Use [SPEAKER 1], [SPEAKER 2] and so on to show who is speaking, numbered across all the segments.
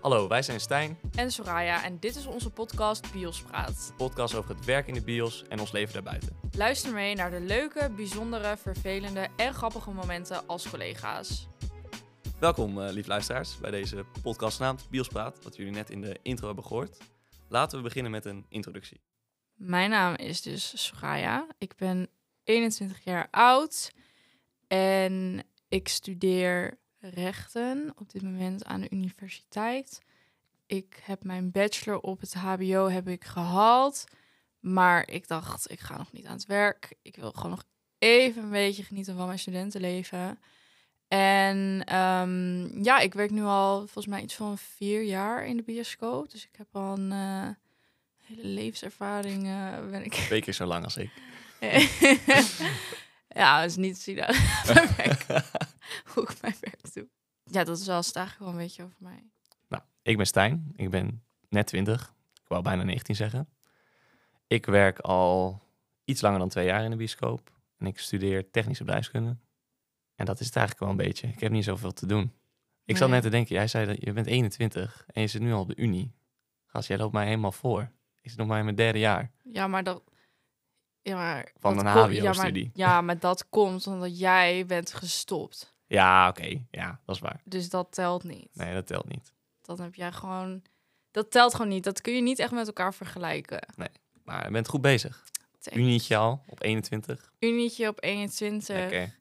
[SPEAKER 1] Hallo, wij zijn Stijn,
[SPEAKER 2] en Soraya en dit is onze podcast Biospraat.
[SPEAKER 1] podcast over het werk in de bios en ons leven daarbuiten.
[SPEAKER 2] Luister mee naar de leuke, bijzondere, vervelende en grappige momenten als collega's.
[SPEAKER 1] Welkom, eh lief luisteraars, bij deze podcast genaamd Biospraat, wat jullie net in de intro hebben gehoord. Laten we beginnen met een introductie.
[SPEAKER 2] Mijn naam is dus Soraya. Ik ben 21 jaar oud en ik studeer rechten op dit moment aan de universiteit. Ik heb mijn bachelor op het HBO heb ik gehaald, maar ik dacht ik ga nog niet aan het werk. Ik wil gewoon nog even een beetje genieten van mijn studentenleven. En ehm, ja, ik werk nu al volgens mij iets van vier jaar in de bioscoop, dus ik heb al een eh, hele levenservaring. eh, ben ik
[SPEAKER 1] Twee keer zo lang als ik.
[SPEAKER 2] ja, dat is niet zielig. Mijn werk. Hoe ik mijn werk doe. Ja, dat is wel het eigenlijk wel een beetje over mij.
[SPEAKER 1] Nou, ik ben Stijn, ik ben net 20, ik wou bijna 19 zeggen. Ik werk al iets langer dan twee jaar in de bioscoop en ik studeer technische bedrijfskunde. En dat is het eigenlijk wel een beetje. Ik heb niet zoveel te doen. Ik zat
[SPEAKER 2] Nee.
[SPEAKER 1] net te denken, jij zei dat je bent 21 en je zit nu al op de unie. Gast, jij loopt mij helemaal voor. Ik zit nog maar in mijn derde jaar.
[SPEAKER 2] Ja, maar dat... Ja, maar
[SPEAKER 1] Van
[SPEAKER 2] dat
[SPEAKER 1] een
[SPEAKER 2] kom- ja, maar,
[SPEAKER 1] HBO-studie.
[SPEAKER 2] ja, maar dat komt omdat jij bent gestopt.
[SPEAKER 1] Ja, oké. Ja, dat is waar.
[SPEAKER 2] Dus dat telt niet.
[SPEAKER 1] Nee, dat telt niet.
[SPEAKER 2] Dan heb jij gewoon... Dat telt gewoon niet. Dat kun je niet echt met elkaar vergelijken.
[SPEAKER 1] Maar je bent goed bezig.
[SPEAKER 2] Thanks.
[SPEAKER 1] Unietje al op 21.
[SPEAKER 2] Unietje op 21.
[SPEAKER 1] Lekker.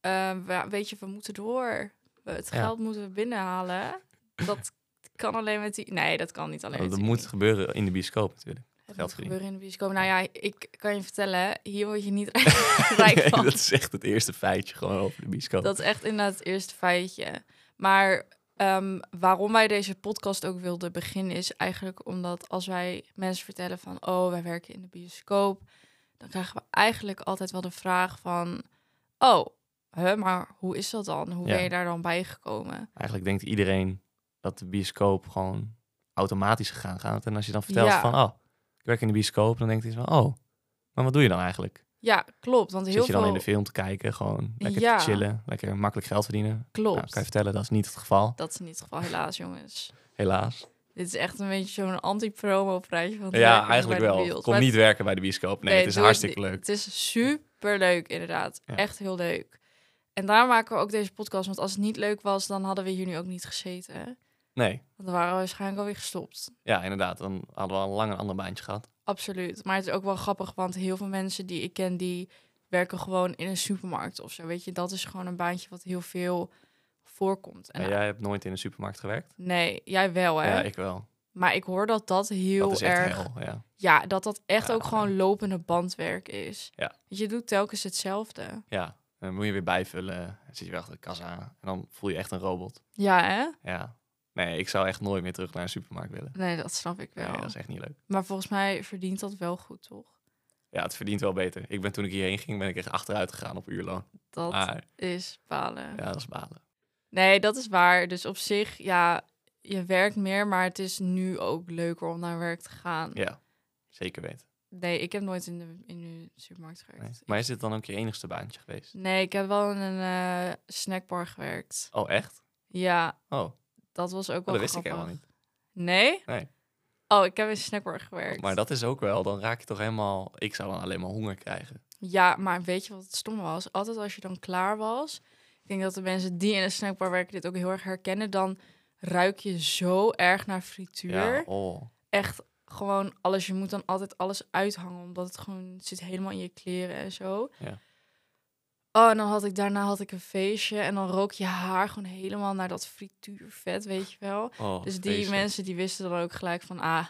[SPEAKER 2] Eh, we- weet je, we moeten door. We- Het
[SPEAKER 1] Ja.
[SPEAKER 2] geld moeten we binnenhalen. Dat kan alleen met die... Nee, dat kan niet alleen met
[SPEAKER 1] Oh, Dat
[SPEAKER 2] die
[SPEAKER 1] moet
[SPEAKER 2] unie.
[SPEAKER 1] gebeuren in de bioscoop natuurlijk.
[SPEAKER 2] Het
[SPEAKER 1] geld
[SPEAKER 2] moet
[SPEAKER 1] verdienen.
[SPEAKER 2] gebeuren in de bioscoop. Nou ja, ik kan je vertellen, hier word je niet rijk
[SPEAKER 1] Nee,
[SPEAKER 2] van.
[SPEAKER 1] dat is echt het eerste feitje gewoon over de bioscoop.
[SPEAKER 2] Dat is echt inderdaad het eerste feitje. Maar ehm, waarom wij deze podcast ook wilden beginnen is eigenlijk omdat als wij mensen vertellen van... oh, wij werken in de bioscoop, dan krijgen we eigenlijk altijd wel de vraag van... oh, hè, maar hoe is dat dan? Hoe
[SPEAKER 1] Ja.
[SPEAKER 2] ben je daar dan bijgekomen?
[SPEAKER 1] Eigenlijk denkt iedereen dat de bioscoop gewoon automatisch gegaan gaat. En als je dan vertelt
[SPEAKER 2] Ja.
[SPEAKER 1] van, oh, ik werk in de bioscoop, dan denkt hij van, oh, maar wat doe je dan eigenlijk?
[SPEAKER 2] Ja, klopt. Want heel
[SPEAKER 1] Zit je dan
[SPEAKER 2] veel...
[SPEAKER 1] in de film te kijken, gewoon lekker
[SPEAKER 2] Ja.
[SPEAKER 1] te chillen, lekker makkelijk geld verdienen? Nou,
[SPEAKER 2] Klopt.
[SPEAKER 1] kan je vertellen, dat is niet het geval,
[SPEAKER 2] Dat is in ieder geval helaas, jongens.
[SPEAKER 1] helaas.
[SPEAKER 2] Dit is echt een beetje zo'n anti-promo praatje van het werken
[SPEAKER 1] Ja,
[SPEAKER 2] bij
[SPEAKER 1] eigenlijk
[SPEAKER 2] de
[SPEAKER 1] wel.
[SPEAKER 2] Beatles.
[SPEAKER 1] Kom
[SPEAKER 2] Maar
[SPEAKER 1] niet werken bij de bioscoop. Nee, het is
[SPEAKER 2] doe
[SPEAKER 1] hartstikke
[SPEAKER 2] niet.
[SPEAKER 1] leuk.
[SPEAKER 2] Het is super leuk, inderdaad.
[SPEAKER 1] Ja.
[SPEAKER 2] Echt heel leuk. En daar maken we ook deze podcast. Want als het niet leuk was, dan hadden we hier nu ook niet gezeten. hè?
[SPEAKER 1] Nee,
[SPEAKER 2] Want dan waren we waarschijnlijk alweer gestopt.
[SPEAKER 1] ja, inderdaad. Dan hadden we al lang een ander baantje gehad.
[SPEAKER 2] Absoluut. Maar het is ook wel grappig, want heel veel mensen die ik ken, die werken gewoon in een supermarkt of zo. Weet je, dat is gewoon een baantje wat heel veel voorkomt. En nou.
[SPEAKER 1] En jij hebt nooit in een supermarkt gewerkt?
[SPEAKER 2] Nee, jij wel, hè?
[SPEAKER 1] Ja, ik wel.
[SPEAKER 2] Maar ik hoor dat dat heel
[SPEAKER 1] Dat is echt
[SPEAKER 2] erg...
[SPEAKER 1] hel, ja.
[SPEAKER 2] Ja, dat dat echt
[SPEAKER 1] Ja,
[SPEAKER 2] ook gewoon
[SPEAKER 1] nee.
[SPEAKER 2] lopende bandwerk is.
[SPEAKER 1] Ja.
[SPEAKER 2] Want je doet telkens hetzelfde.
[SPEAKER 1] Ja, en dan moet je weer bijvullen. Dan zit je weer achter de kassa en dan voel je echt een robot.
[SPEAKER 2] Ja, hè?
[SPEAKER 1] Ja. Nee, ik zou echt nooit meer terug naar een supermarkt willen.
[SPEAKER 2] Nee, dat snap ik wel.
[SPEAKER 1] Nee, dat is echt niet leuk.
[SPEAKER 2] Maar volgens mij verdient dat wel goed, toch?
[SPEAKER 1] Ja, het verdient wel beter. Ik ben toen ik hierheen ging, ben ik echt achteruit gegaan op uurloon.
[SPEAKER 2] Dat
[SPEAKER 1] Maar
[SPEAKER 2] is balen.
[SPEAKER 1] Ah. ja, dat is balen.
[SPEAKER 2] Nee, dat is waar. Dus op zich, ja, je werkt meer, maar het is nu ook leuker om naar werk te gaan.
[SPEAKER 1] Ja, zeker weten.
[SPEAKER 2] Nee, ik heb nooit in de, in de supermarkt
[SPEAKER 1] Nee.
[SPEAKER 2] gewerkt.
[SPEAKER 1] Maar is dit dan ook je enigste baantje geweest?
[SPEAKER 2] Nee, ik heb wel in een eh, snackbar gewerkt.
[SPEAKER 1] Oh, echt?
[SPEAKER 2] Ja,
[SPEAKER 1] Oh,
[SPEAKER 2] dat was ook wel
[SPEAKER 1] dat wist ik
[SPEAKER 2] grappig.
[SPEAKER 1] helemaal niet.
[SPEAKER 2] Nee?
[SPEAKER 1] Nee.
[SPEAKER 2] Oh, ik heb in een snackbar gewerkt.
[SPEAKER 1] Maar dat is ook wel, dan raak je toch helemaal... Ik zou dan alleen maar honger krijgen.
[SPEAKER 2] Ja, maar weet je wat het stom was? Altijd als je dan klaar was, ik denk dat de mensen die in een snackbar werken dit ook heel erg herkennen, dan ruik je zo erg naar frituur.
[SPEAKER 1] Ja, oh.
[SPEAKER 2] Echt gewoon alles. Je moet dan altijd alles uithangen, omdat het gewoon het zit helemaal in je kleren en zo.
[SPEAKER 1] Ja.
[SPEAKER 2] Oh, en dan had ik daarna had ik een feestje en dan rook je haar gewoon helemaal naar dat frituurvet, weet je wel.
[SPEAKER 1] oh
[SPEAKER 2] dus die
[SPEAKER 1] vreselijk.
[SPEAKER 2] mensen die wisten dan ook gelijk van, ah,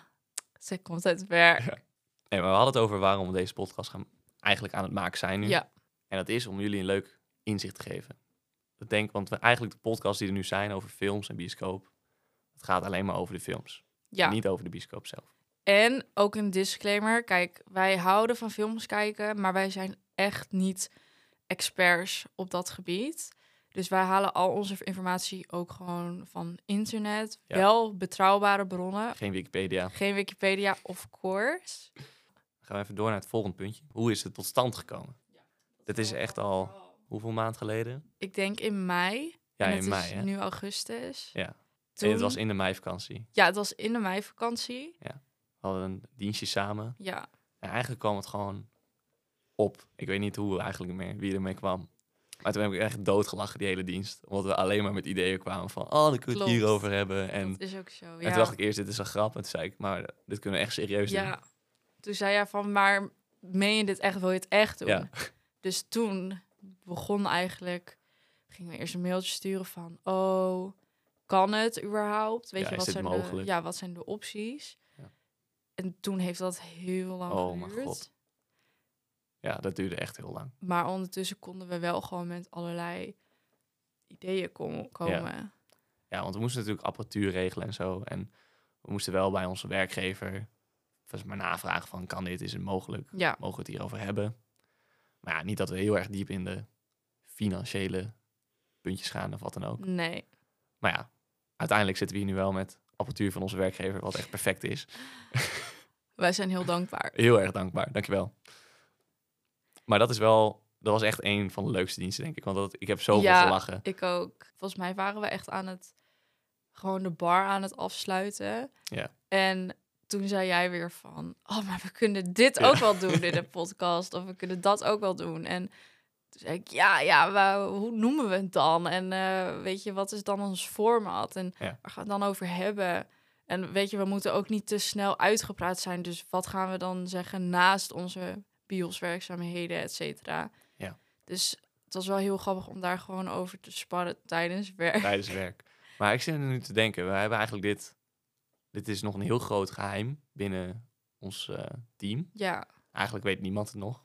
[SPEAKER 2] ze komt uit het werk.
[SPEAKER 1] Nee, maar we hadden het over waarom we deze podcast gaan, eigenlijk aan het maken zijn nu.
[SPEAKER 2] Ja.
[SPEAKER 1] En dat is om jullie een leuk inzicht te geven. Ik denk, want we, eigenlijk de podcasts die er nu zijn over films en bioscoop, het gaat alleen maar over de films.
[SPEAKER 2] Ja.
[SPEAKER 1] Niet over de bioscoop zelf.
[SPEAKER 2] En ook een disclaimer. Kijk, wij houden van films kijken, maar wij zijn echt niet experts op dat gebied. Dus wij halen al onze informatie ook gewoon van internet.
[SPEAKER 1] Ja.
[SPEAKER 2] Wel betrouwbare bronnen.
[SPEAKER 1] Geen Wikipedia.
[SPEAKER 2] Geen Wikipedia, of course.
[SPEAKER 1] Dan gaan we even door naar het volgende puntje. Hoe is het tot stand gekomen? Dat is echt al hoeveel maand geleden?
[SPEAKER 2] Ik denk in mei.
[SPEAKER 1] Ja,
[SPEAKER 2] en
[SPEAKER 1] in
[SPEAKER 2] het
[SPEAKER 1] mei.
[SPEAKER 2] is
[SPEAKER 1] hè?
[SPEAKER 2] nu augustus.
[SPEAKER 1] Ja. En
[SPEAKER 2] toen...
[SPEAKER 1] het was in de meivakantie.
[SPEAKER 2] Ja, het was in de meivakantie.
[SPEAKER 1] We hadden een dienstje samen.
[SPEAKER 2] Ja,
[SPEAKER 1] En eigenlijk kwam het gewoon op. Ik weet niet hoe eigenlijk meer, wie ermee kwam. Maar toen heb ik echt doodgelachen die hele dienst. Omdat we alleen maar met ideeën kwamen van... Oh, dan kunnen we het
[SPEAKER 2] Klopt.
[SPEAKER 1] hierover hebben. En,
[SPEAKER 2] dat is ook zo. Ja.
[SPEAKER 1] en toen dacht ik eerst, dit is een grap. En toen zei ik, maar dit kunnen we echt serieus doen.
[SPEAKER 2] Ja. Toen zei hij van, maar meen je dit echt? Wil je het echt doen?
[SPEAKER 1] Ja.
[SPEAKER 2] Dus toen begon eigenlijk, gingen we eerst een mailtje sturen van, oh, kan het überhaupt? Weet
[SPEAKER 1] Ja,
[SPEAKER 2] je,
[SPEAKER 1] is dit
[SPEAKER 2] wat zijn, de,
[SPEAKER 1] mogelijk?
[SPEAKER 2] ja, wat zijn de opties?
[SPEAKER 1] Ja.
[SPEAKER 2] En toen heeft dat heel lang
[SPEAKER 1] Oh, mijn
[SPEAKER 2] geduurd.
[SPEAKER 1] God. Ja, dat duurde echt heel lang.
[SPEAKER 2] Maar ondertussen konden we wel gewoon met allerlei ideeën kom- komen.
[SPEAKER 1] Ja, want we moesten natuurlijk apparatuur regelen en zo. En we moesten wel bij onze werkgever... volgens mij navragen van, kan dit? Is het mogelijk?
[SPEAKER 2] Ja,
[SPEAKER 1] mogen we het hierover hebben. Maar ja, niet dat we heel erg diep in de financiële puntjes gaan of wat dan ook.
[SPEAKER 2] nee.
[SPEAKER 1] Maar ja, uiteindelijk zitten we hier nu wel met apparatuur van onze werkgever, wat echt perfect is.
[SPEAKER 2] Wij zijn heel dankbaar.
[SPEAKER 1] Heel erg dankbaar, dankjewel. Maar dat is wel, dat was echt een van de leukste diensten, denk ik. Want dat, ik heb zoveel
[SPEAKER 2] Ja.
[SPEAKER 1] gelachen.
[SPEAKER 2] Ik ook. Volgens mij waren we echt aan het gewoon de bar aan het afsluiten.
[SPEAKER 1] Ja.
[SPEAKER 2] En toen zei jij weer van, oh, maar we kunnen dit
[SPEAKER 1] Ja.
[SPEAKER 2] ook wel doen in de podcast, of we kunnen dat ook wel doen. En toen zei ik, ja, ja, maar hoe noemen we het dan? En eh, weet je, wat is dan ons format? En
[SPEAKER 1] Ja.
[SPEAKER 2] waar gaan we het dan over hebben? En weet je, we moeten ook niet te snel uitgepraat zijn. Dus wat gaan we dan zeggen naast onze bioswerkzaamheden, et cetera?
[SPEAKER 1] Ja.
[SPEAKER 2] Dus het was wel heel grappig om daar gewoon over te sparren tijdens werk.
[SPEAKER 1] tijdens werk. Maar ik zit er nu te denken, we hebben eigenlijk dit, dit is nog een heel groot geheim binnen ons eh, team.
[SPEAKER 2] Ja,
[SPEAKER 1] Eigenlijk weet niemand het nog.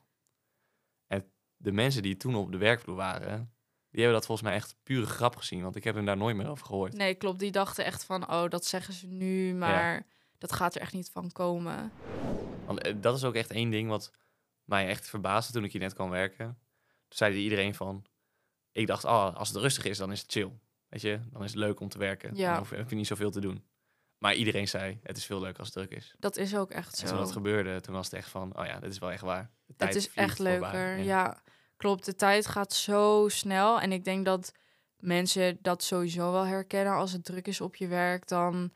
[SPEAKER 1] En de mensen die toen op de werkvloer waren, die hebben dat volgens mij echt pure grap gezien. Want ik heb hem daar nooit meer over gehoord.
[SPEAKER 2] nee, klopt. Die dachten echt van, oh, dat zeggen ze nu, maar dat gaat er echt niet van komen.
[SPEAKER 1] Want eh, dat is ook echt één ding wat mij echt verbaasde toen ik hier net kwam werken. Toen zei iedereen van, ik dacht, ah, als het rustig is, dan is het chill. Weet je, dan is het leuk om te werken.
[SPEAKER 2] Ja.
[SPEAKER 1] Dan hoef- heb je niet zoveel te doen. Maar iedereen zei, het is veel leuker als het druk is.
[SPEAKER 2] Dat is ook echt
[SPEAKER 1] En toen
[SPEAKER 2] zo.
[SPEAKER 1] dat gebeurde, toen was het echt van, oh ja, dit is wel echt waar. De tijd
[SPEAKER 2] Het is
[SPEAKER 1] vliegt
[SPEAKER 2] echt
[SPEAKER 1] voorbij.
[SPEAKER 2] leuker. Ja, klopt. De tijd gaat zo snel. En ik denk dat mensen dat sowieso wel herkennen. Als het druk is op je werk, dan...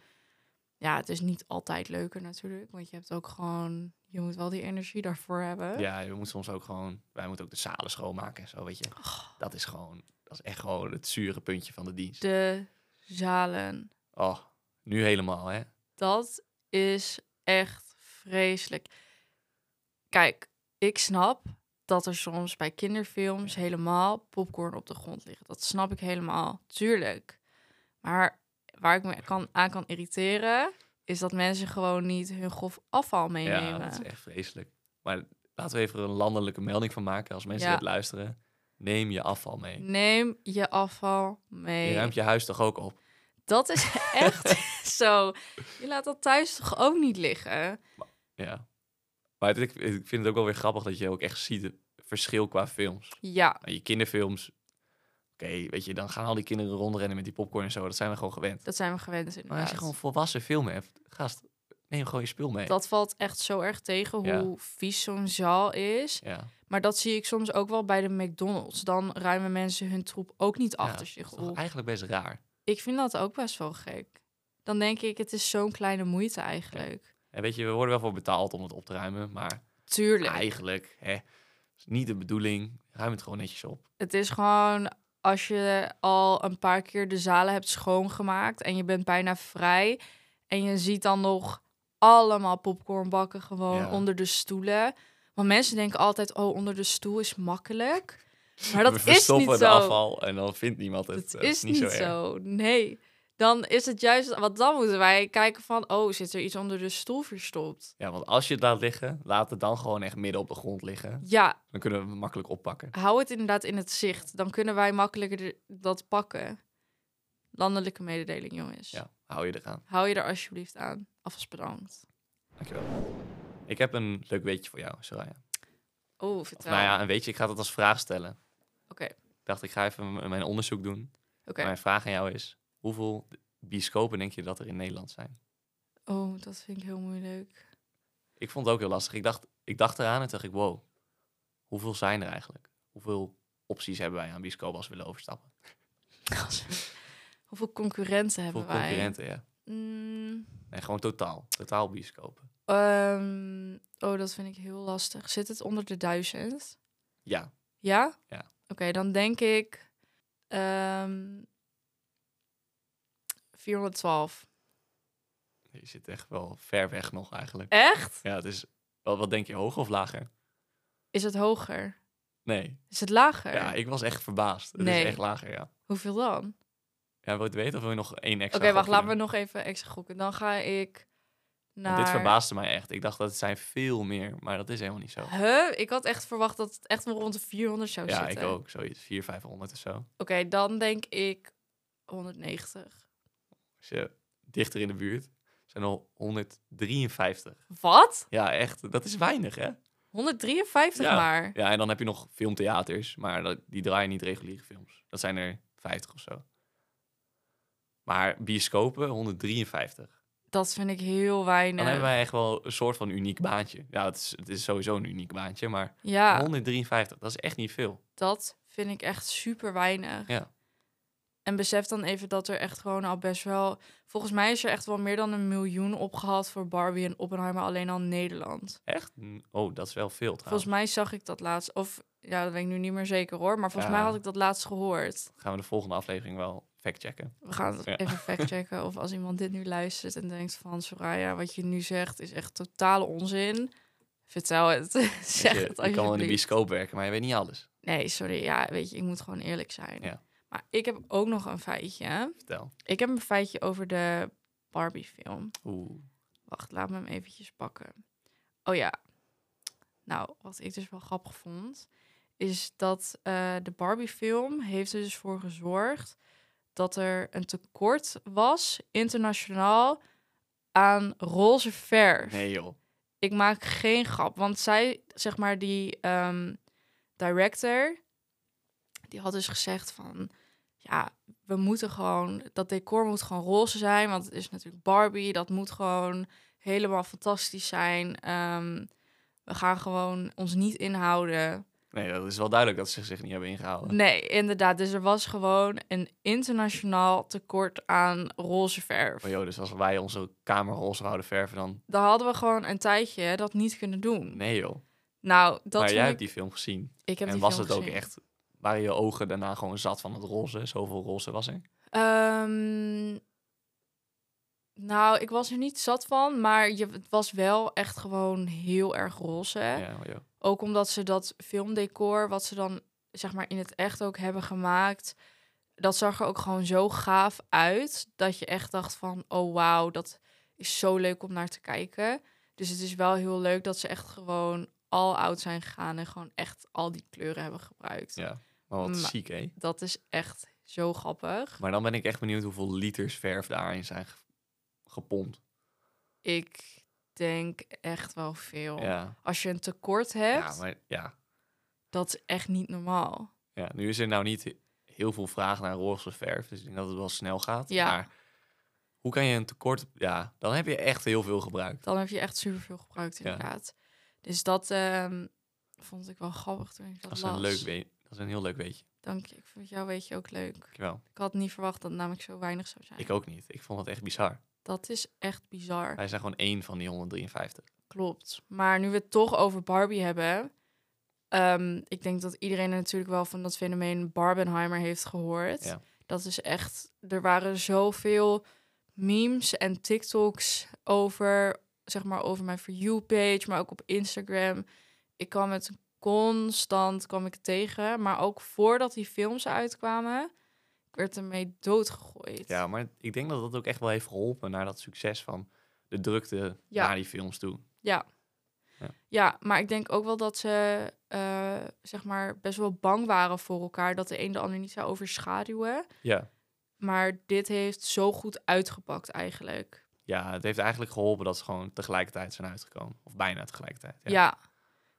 [SPEAKER 2] Ja, het is niet altijd leuker natuurlijk. Want je hebt ook gewoon... Je moet wel die energie daarvoor hebben.
[SPEAKER 1] Ja, we moeten soms ook gewoon, wij moeten ook de zalen schoonmaken en zo, weet je. Dat is gewoon, dat is echt gewoon het zure puntje van de dienst.
[SPEAKER 2] Oh. De zalen.
[SPEAKER 1] Oh, nu helemaal, hè?
[SPEAKER 2] Dat is echt vreselijk. Kijk, ik snap dat er soms bij kinderfilms helemaal popcorn op de grond ligt. Dat snap ik helemaal, tuurlijk. Maar waar ik me kan, aan kan irriteren, is dat mensen gewoon niet hun grof afval
[SPEAKER 1] Ja,
[SPEAKER 2] meenemen.
[SPEAKER 1] dat is echt vreselijk. Maar laten we even er een landelijke melding van maken als mensen
[SPEAKER 2] Ja.
[SPEAKER 1] dit luisteren. Neem je afval mee.
[SPEAKER 2] Neem je afval
[SPEAKER 1] Je
[SPEAKER 2] mee.
[SPEAKER 1] ruimt je huis toch ook op?
[SPEAKER 2] Dat is echt zo. Je laat dat thuis toch ook niet liggen?
[SPEAKER 1] Ja. Maar het- ik, ik vind het ook wel weer grappig dat je ook echt ziet het verschil qua films.
[SPEAKER 2] Ja,
[SPEAKER 1] Nou, je kinderfilms, oké, weet je, dan gaan al die kinderen rondrennen met die popcorn en zo. Dat zijn we gewoon gewend.
[SPEAKER 2] dat zijn we gewend inderdaad.
[SPEAKER 1] Maar als je gewoon volwassen filmen hebt, gast, neem gewoon je spul mee.
[SPEAKER 2] Dat valt echt zo erg tegen hoe
[SPEAKER 1] Ja.
[SPEAKER 2] vies zo'n zaal is.
[SPEAKER 1] Ja.
[SPEAKER 2] Maar dat zie ik soms ook wel bij de McDonald's. Dan ruimen mensen hun troep ook niet
[SPEAKER 1] Ja,
[SPEAKER 2] achter zich
[SPEAKER 1] Dat is toch
[SPEAKER 2] op.
[SPEAKER 1] eigenlijk best raar.
[SPEAKER 2] Ik vind dat ook best wel gek. Dan denk ik, het is zo'n kleine moeite eigenlijk.
[SPEAKER 1] En weet je, we worden wel voor betaald om het op te ruimen, maar
[SPEAKER 2] Tuurlijk.
[SPEAKER 1] eigenlijk hè, is niet de bedoeling. Ruim het gewoon netjes op.
[SPEAKER 2] Het is gewoon als je al een paar keer de zalen hebt schoongemaakt en je bent bijna vrij en je ziet dan nog allemaal popcornbakken gewoon
[SPEAKER 1] Ja.
[SPEAKER 2] onder de stoelen. Want mensen denken altijd, oh, onder de stoel is makkelijk. Maar dat
[SPEAKER 1] we
[SPEAKER 2] is
[SPEAKER 1] verstoppen
[SPEAKER 2] niet
[SPEAKER 1] de
[SPEAKER 2] zo.
[SPEAKER 1] afval en dan vindt niemand het.
[SPEAKER 2] Het
[SPEAKER 1] Dat
[SPEAKER 2] is niet zo.
[SPEAKER 1] erg.
[SPEAKER 2] Nee. Dan is het juist, want dan moeten wij kijken van, oh, zit er iets onder de stoel verstopt?
[SPEAKER 1] Ja, want als je het laat liggen, laat het dan gewoon echt midden op de grond liggen.
[SPEAKER 2] Ja,
[SPEAKER 1] Dan kunnen we het makkelijk oppakken.
[SPEAKER 2] hou het inderdaad in het zicht. Dan kunnen wij makkelijker de- dat pakken. Landelijke mededeling, jongens.
[SPEAKER 1] Ja, hou je eraan.
[SPEAKER 2] Hou je er alsjeblieft aan. Alvast bedankt.
[SPEAKER 1] Dankjewel. Ik heb een leuk weetje voor jou, Soraya.
[SPEAKER 2] Oh,
[SPEAKER 1] Of,
[SPEAKER 2] vertel.
[SPEAKER 1] nou ja, een weetje, ik ga dat als vraag stellen.
[SPEAKER 2] Oké.
[SPEAKER 1] Ik dacht, ik ga even m- mijn onderzoek doen.
[SPEAKER 2] Oké.
[SPEAKER 1] Mijn vraag aan jou is, hoeveel bioscopen denk je dat er in Nederland zijn?
[SPEAKER 2] Oh, dat vind ik heel moeilijk.
[SPEAKER 1] Ik vond het ook heel lastig. Ik dacht, ik dacht eraan en toen dacht ik, wow, hoeveel zijn er eigenlijk? Hoeveel opties hebben wij aan bioscoop als we willen overstappen?
[SPEAKER 2] Hoeveel concurrenten hebben
[SPEAKER 1] Voor
[SPEAKER 2] wij?
[SPEAKER 1] concurrenten, ja.
[SPEAKER 2] Mm,
[SPEAKER 1] Nee, gewoon totaal. Totaal bioscopen.
[SPEAKER 2] ehm, oh, dat vind ik heel lastig. Zit het onder de duizend?
[SPEAKER 1] Ja,
[SPEAKER 2] Ja?
[SPEAKER 1] Ja.
[SPEAKER 2] Oké, dan denk ik ehm, 412.
[SPEAKER 1] je zit echt wel ver weg nog eigenlijk.
[SPEAKER 2] Echt?
[SPEAKER 1] Ja, het is... Wat, wat denk je, hoger of lager?
[SPEAKER 2] Is het hoger?
[SPEAKER 1] Nee.
[SPEAKER 2] Is het lager?
[SPEAKER 1] Ja, ik was echt verbaasd. Het
[SPEAKER 2] Nee.
[SPEAKER 1] is echt lager, ja.
[SPEAKER 2] Hoeveel dan? Oké,
[SPEAKER 1] Ja, wil je het weten of wil je nog één extra
[SPEAKER 2] wacht,
[SPEAKER 1] gokje
[SPEAKER 2] laten we
[SPEAKER 1] doen?
[SPEAKER 2] nog even extra gokken. Dan ga ik naar...
[SPEAKER 1] Want Dit verbaasde mij echt. Ik dacht dat het zijn veel meer, maar dat is helemaal niet zo.
[SPEAKER 2] Huh? Ik had echt verwacht dat het echt wel rond de 400 zou
[SPEAKER 1] Ja, ik
[SPEAKER 2] zitten.
[SPEAKER 1] ook. Zoiets, 400, 500 of zo.
[SPEAKER 2] Oké, dan denk ik 190.
[SPEAKER 1] Als je dichter in de buurt, zijn al 153.
[SPEAKER 2] Wat?
[SPEAKER 1] Ja, echt. Dat is weinig, hè?
[SPEAKER 2] 153
[SPEAKER 1] Ja.
[SPEAKER 2] maar.
[SPEAKER 1] Ja, en dan heb je nog filmtheaters, maar dat, die draaien niet reguliere films. Dat zijn er 50 of zo. Maar bioscopen 153.
[SPEAKER 2] Dat vind ik heel
[SPEAKER 1] Dan
[SPEAKER 2] weinig.
[SPEAKER 1] hebben wij echt wel een soort van uniek baantje. Ja, het is, het is sowieso een uniek baantje, maar
[SPEAKER 2] Ja,
[SPEAKER 1] 153, dat is echt niet veel.
[SPEAKER 2] dat vind ik echt super weinig.
[SPEAKER 1] Ja.
[SPEAKER 2] En besef dan even dat er echt gewoon al best wel... Volgens mij is er echt wel meer dan een miljoen opgehaald voor Barbie en Oppenheimer alleen al in Nederland.
[SPEAKER 1] Echt? Oh, dat is wel veel trouwens.
[SPEAKER 2] Volgens mij zag ik dat laatst. Of ja, dat weet ik nu niet meer zeker hoor. Maar volgens
[SPEAKER 1] Ja.
[SPEAKER 2] mij had ik dat laatst gehoord.
[SPEAKER 1] Gaan we de volgende aflevering wel factchecken.
[SPEAKER 2] We gaan het
[SPEAKER 1] Ja.
[SPEAKER 2] even factchecken. Of als iemand dit nu luistert en denkt van Soraya, wat je nu zegt is echt totale onzin. Vertel het. zeg
[SPEAKER 1] Weet je, je kan
[SPEAKER 2] het
[SPEAKER 1] wel in de
[SPEAKER 2] alsjeblieft.
[SPEAKER 1] bioscoop werken, maar je weet niet alles.
[SPEAKER 2] Nee, sorry. Ja, weet je, ik moet gewoon eerlijk zijn.
[SPEAKER 1] Ja.
[SPEAKER 2] Maar ik heb ook nog een feitje.
[SPEAKER 1] Vertel.
[SPEAKER 2] Ik heb een feitje over de Barbie film.
[SPEAKER 1] Oeh.
[SPEAKER 2] Wacht, laat me hem eventjes pakken. Oh ja. Nou, wat ik dus wel grappig vond, is dat eh, de Barbie-film heeft er dus voor gezorgd dat er een tekort was internationaal aan roze verf.
[SPEAKER 1] Nee joh.
[SPEAKER 2] Ik maak geen grap, want zij, zeg maar, die ehm, director, die had dus gezegd van, ja, we moeten gewoon, dat decor moet gewoon roze zijn, want het is natuurlijk Barbie, dat moet gewoon helemaal fantastisch zijn. Ehm, we gaan gewoon ons niet inhouden.
[SPEAKER 1] Nee, dat is wel duidelijk dat ze zich niet hebben ingehouden.
[SPEAKER 2] Nee, inderdaad. Dus er was gewoon een internationaal tekort aan roze verf.
[SPEAKER 1] Maar joh, dus als wij onze kamer roze houden verven, dan...
[SPEAKER 2] Daar hadden we gewoon een tijdje dat niet kunnen doen.
[SPEAKER 1] Nee joh.
[SPEAKER 2] Nou, dat
[SPEAKER 1] maar
[SPEAKER 2] vond
[SPEAKER 1] jij
[SPEAKER 2] ik...
[SPEAKER 1] hebt die film gezien.
[SPEAKER 2] ik heb
[SPEAKER 1] en
[SPEAKER 2] die
[SPEAKER 1] was
[SPEAKER 2] film
[SPEAKER 1] het ook
[SPEAKER 2] gezien.
[SPEAKER 1] echt... Waren je ogen daarna gewoon zat van het roze? Zoveel roze was er?
[SPEAKER 2] Ehm, nou, ik was er niet zat van, maar je, het was wel echt gewoon heel erg roze.
[SPEAKER 1] Ja, joh.
[SPEAKER 2] Ook omdat ze dat filmdecor, wat ze dan zeg maar in het echt ook hebben gemaakt, dat zag er ook gewoon zo gaaf uit. Dat je echt dacht van, oh wauw, dat is zo leuk om naar te kijken. Dus het is wel heel leuk dat ze echt gewoon al oud zijn gegaan en gewoon echt al die kleuren hebben gebruikt.
[SPEAKER 1] Ja. Maar wat
[SPEAKER 2] Maar-
[SPEAKER 1] ziek, hè?
[SPEAKER 2] Dat is echt zo grappig.
[SPEAKER 1] Maar dan ben ik echt benieuwd hoeveel liters verf daarin zijn ge- gepompt.
[SPEAKER 2] Ik denk echt wel veel.
[SPEAKER 1] Ja.
[SPEAKER 2] Als je een tekort hebt,
[SPEAKER 1] Ja, maar ja.
[SPEAKER 2] dat is echt niet normaal.
[SPEAKER 1] ja. Nu is er nou niet heel veel vraag naar roze verf, dus ik denk dat het wel snel gaat.
[SPEAKER 2] Ja.
[SPEAKER 1] Maar hoe kan je een tekort... Ja, dan heb je echt heel veel gebruikt.
[SPEAKER 2] Dan heb je echt superveel gebruikt
[SPEAKER 1] Ja.
[SPEAKER 2] inderdaad. Dus dat ehm, vond ik wel grappig toen ik dat,
[SPEAKER 1] Dat is
[SPEAKER 2] las.
[SPEAKER 1] een, leuk weet, dat is een heel leuk weetje.
[SPEAKER 2] Dank je. Ik vond jouw weetje ook leuk.
[SPEAKER 1] Dankjewel.
[SPEAKER 2] Ik had niet verwacht dat het namelijk zo weinig zou zijn.
[SPEAKER 1] Ik ook niet. Ik vond het echt bizar.
[SPEAKER 2] Dat is echt bizar.
[SPEAKER 1] Wij zijn gewoon één van die 153.
[SPEAKER 2] Klopt. Maar nu we het toch over Barbie hebben... ehm, ik denk dat iedereen natuurlijk wel van dat fenomeen Barbenheimer heeft gehoord.
[SPEAKER 1] Ja.
[SPEAKER 2] Dat is echt... Er waren zoveel memes en TikToks over... zeg maar over mijn For You-page, maar ook op Instagram. Ik kwam het constant kwam ik het tegen. Maar ook voordat die films uitkwamen... ik werd ermee doodgegooid.
[SPEAKER 1] Ja, maar ik denk dat dat ook echt wel heeft geholpen naar dat succes van de drukte
[SPEAKER 2] Ja.
[SPEAKER 1] naar die films toe.
[SPEAKER 2] Ja, maar ik denk ook wel dat ze eh, zeg maar best wel bang waren voor elkaar. Dat de een de ander niet zou overschaduwen.
[SPEAKER 1] Ja.
[SPEAKER 2] Maar dit heeft zo goed uitgepakt eigenlijk.
[SPEAKER 1] Ja, het heeft eigenlijk geholpen dat ze gewoon tegelijkertijd zijn uitgekomen. Of bijna tegelijkertijd.
[SPEAKER 2] Ja.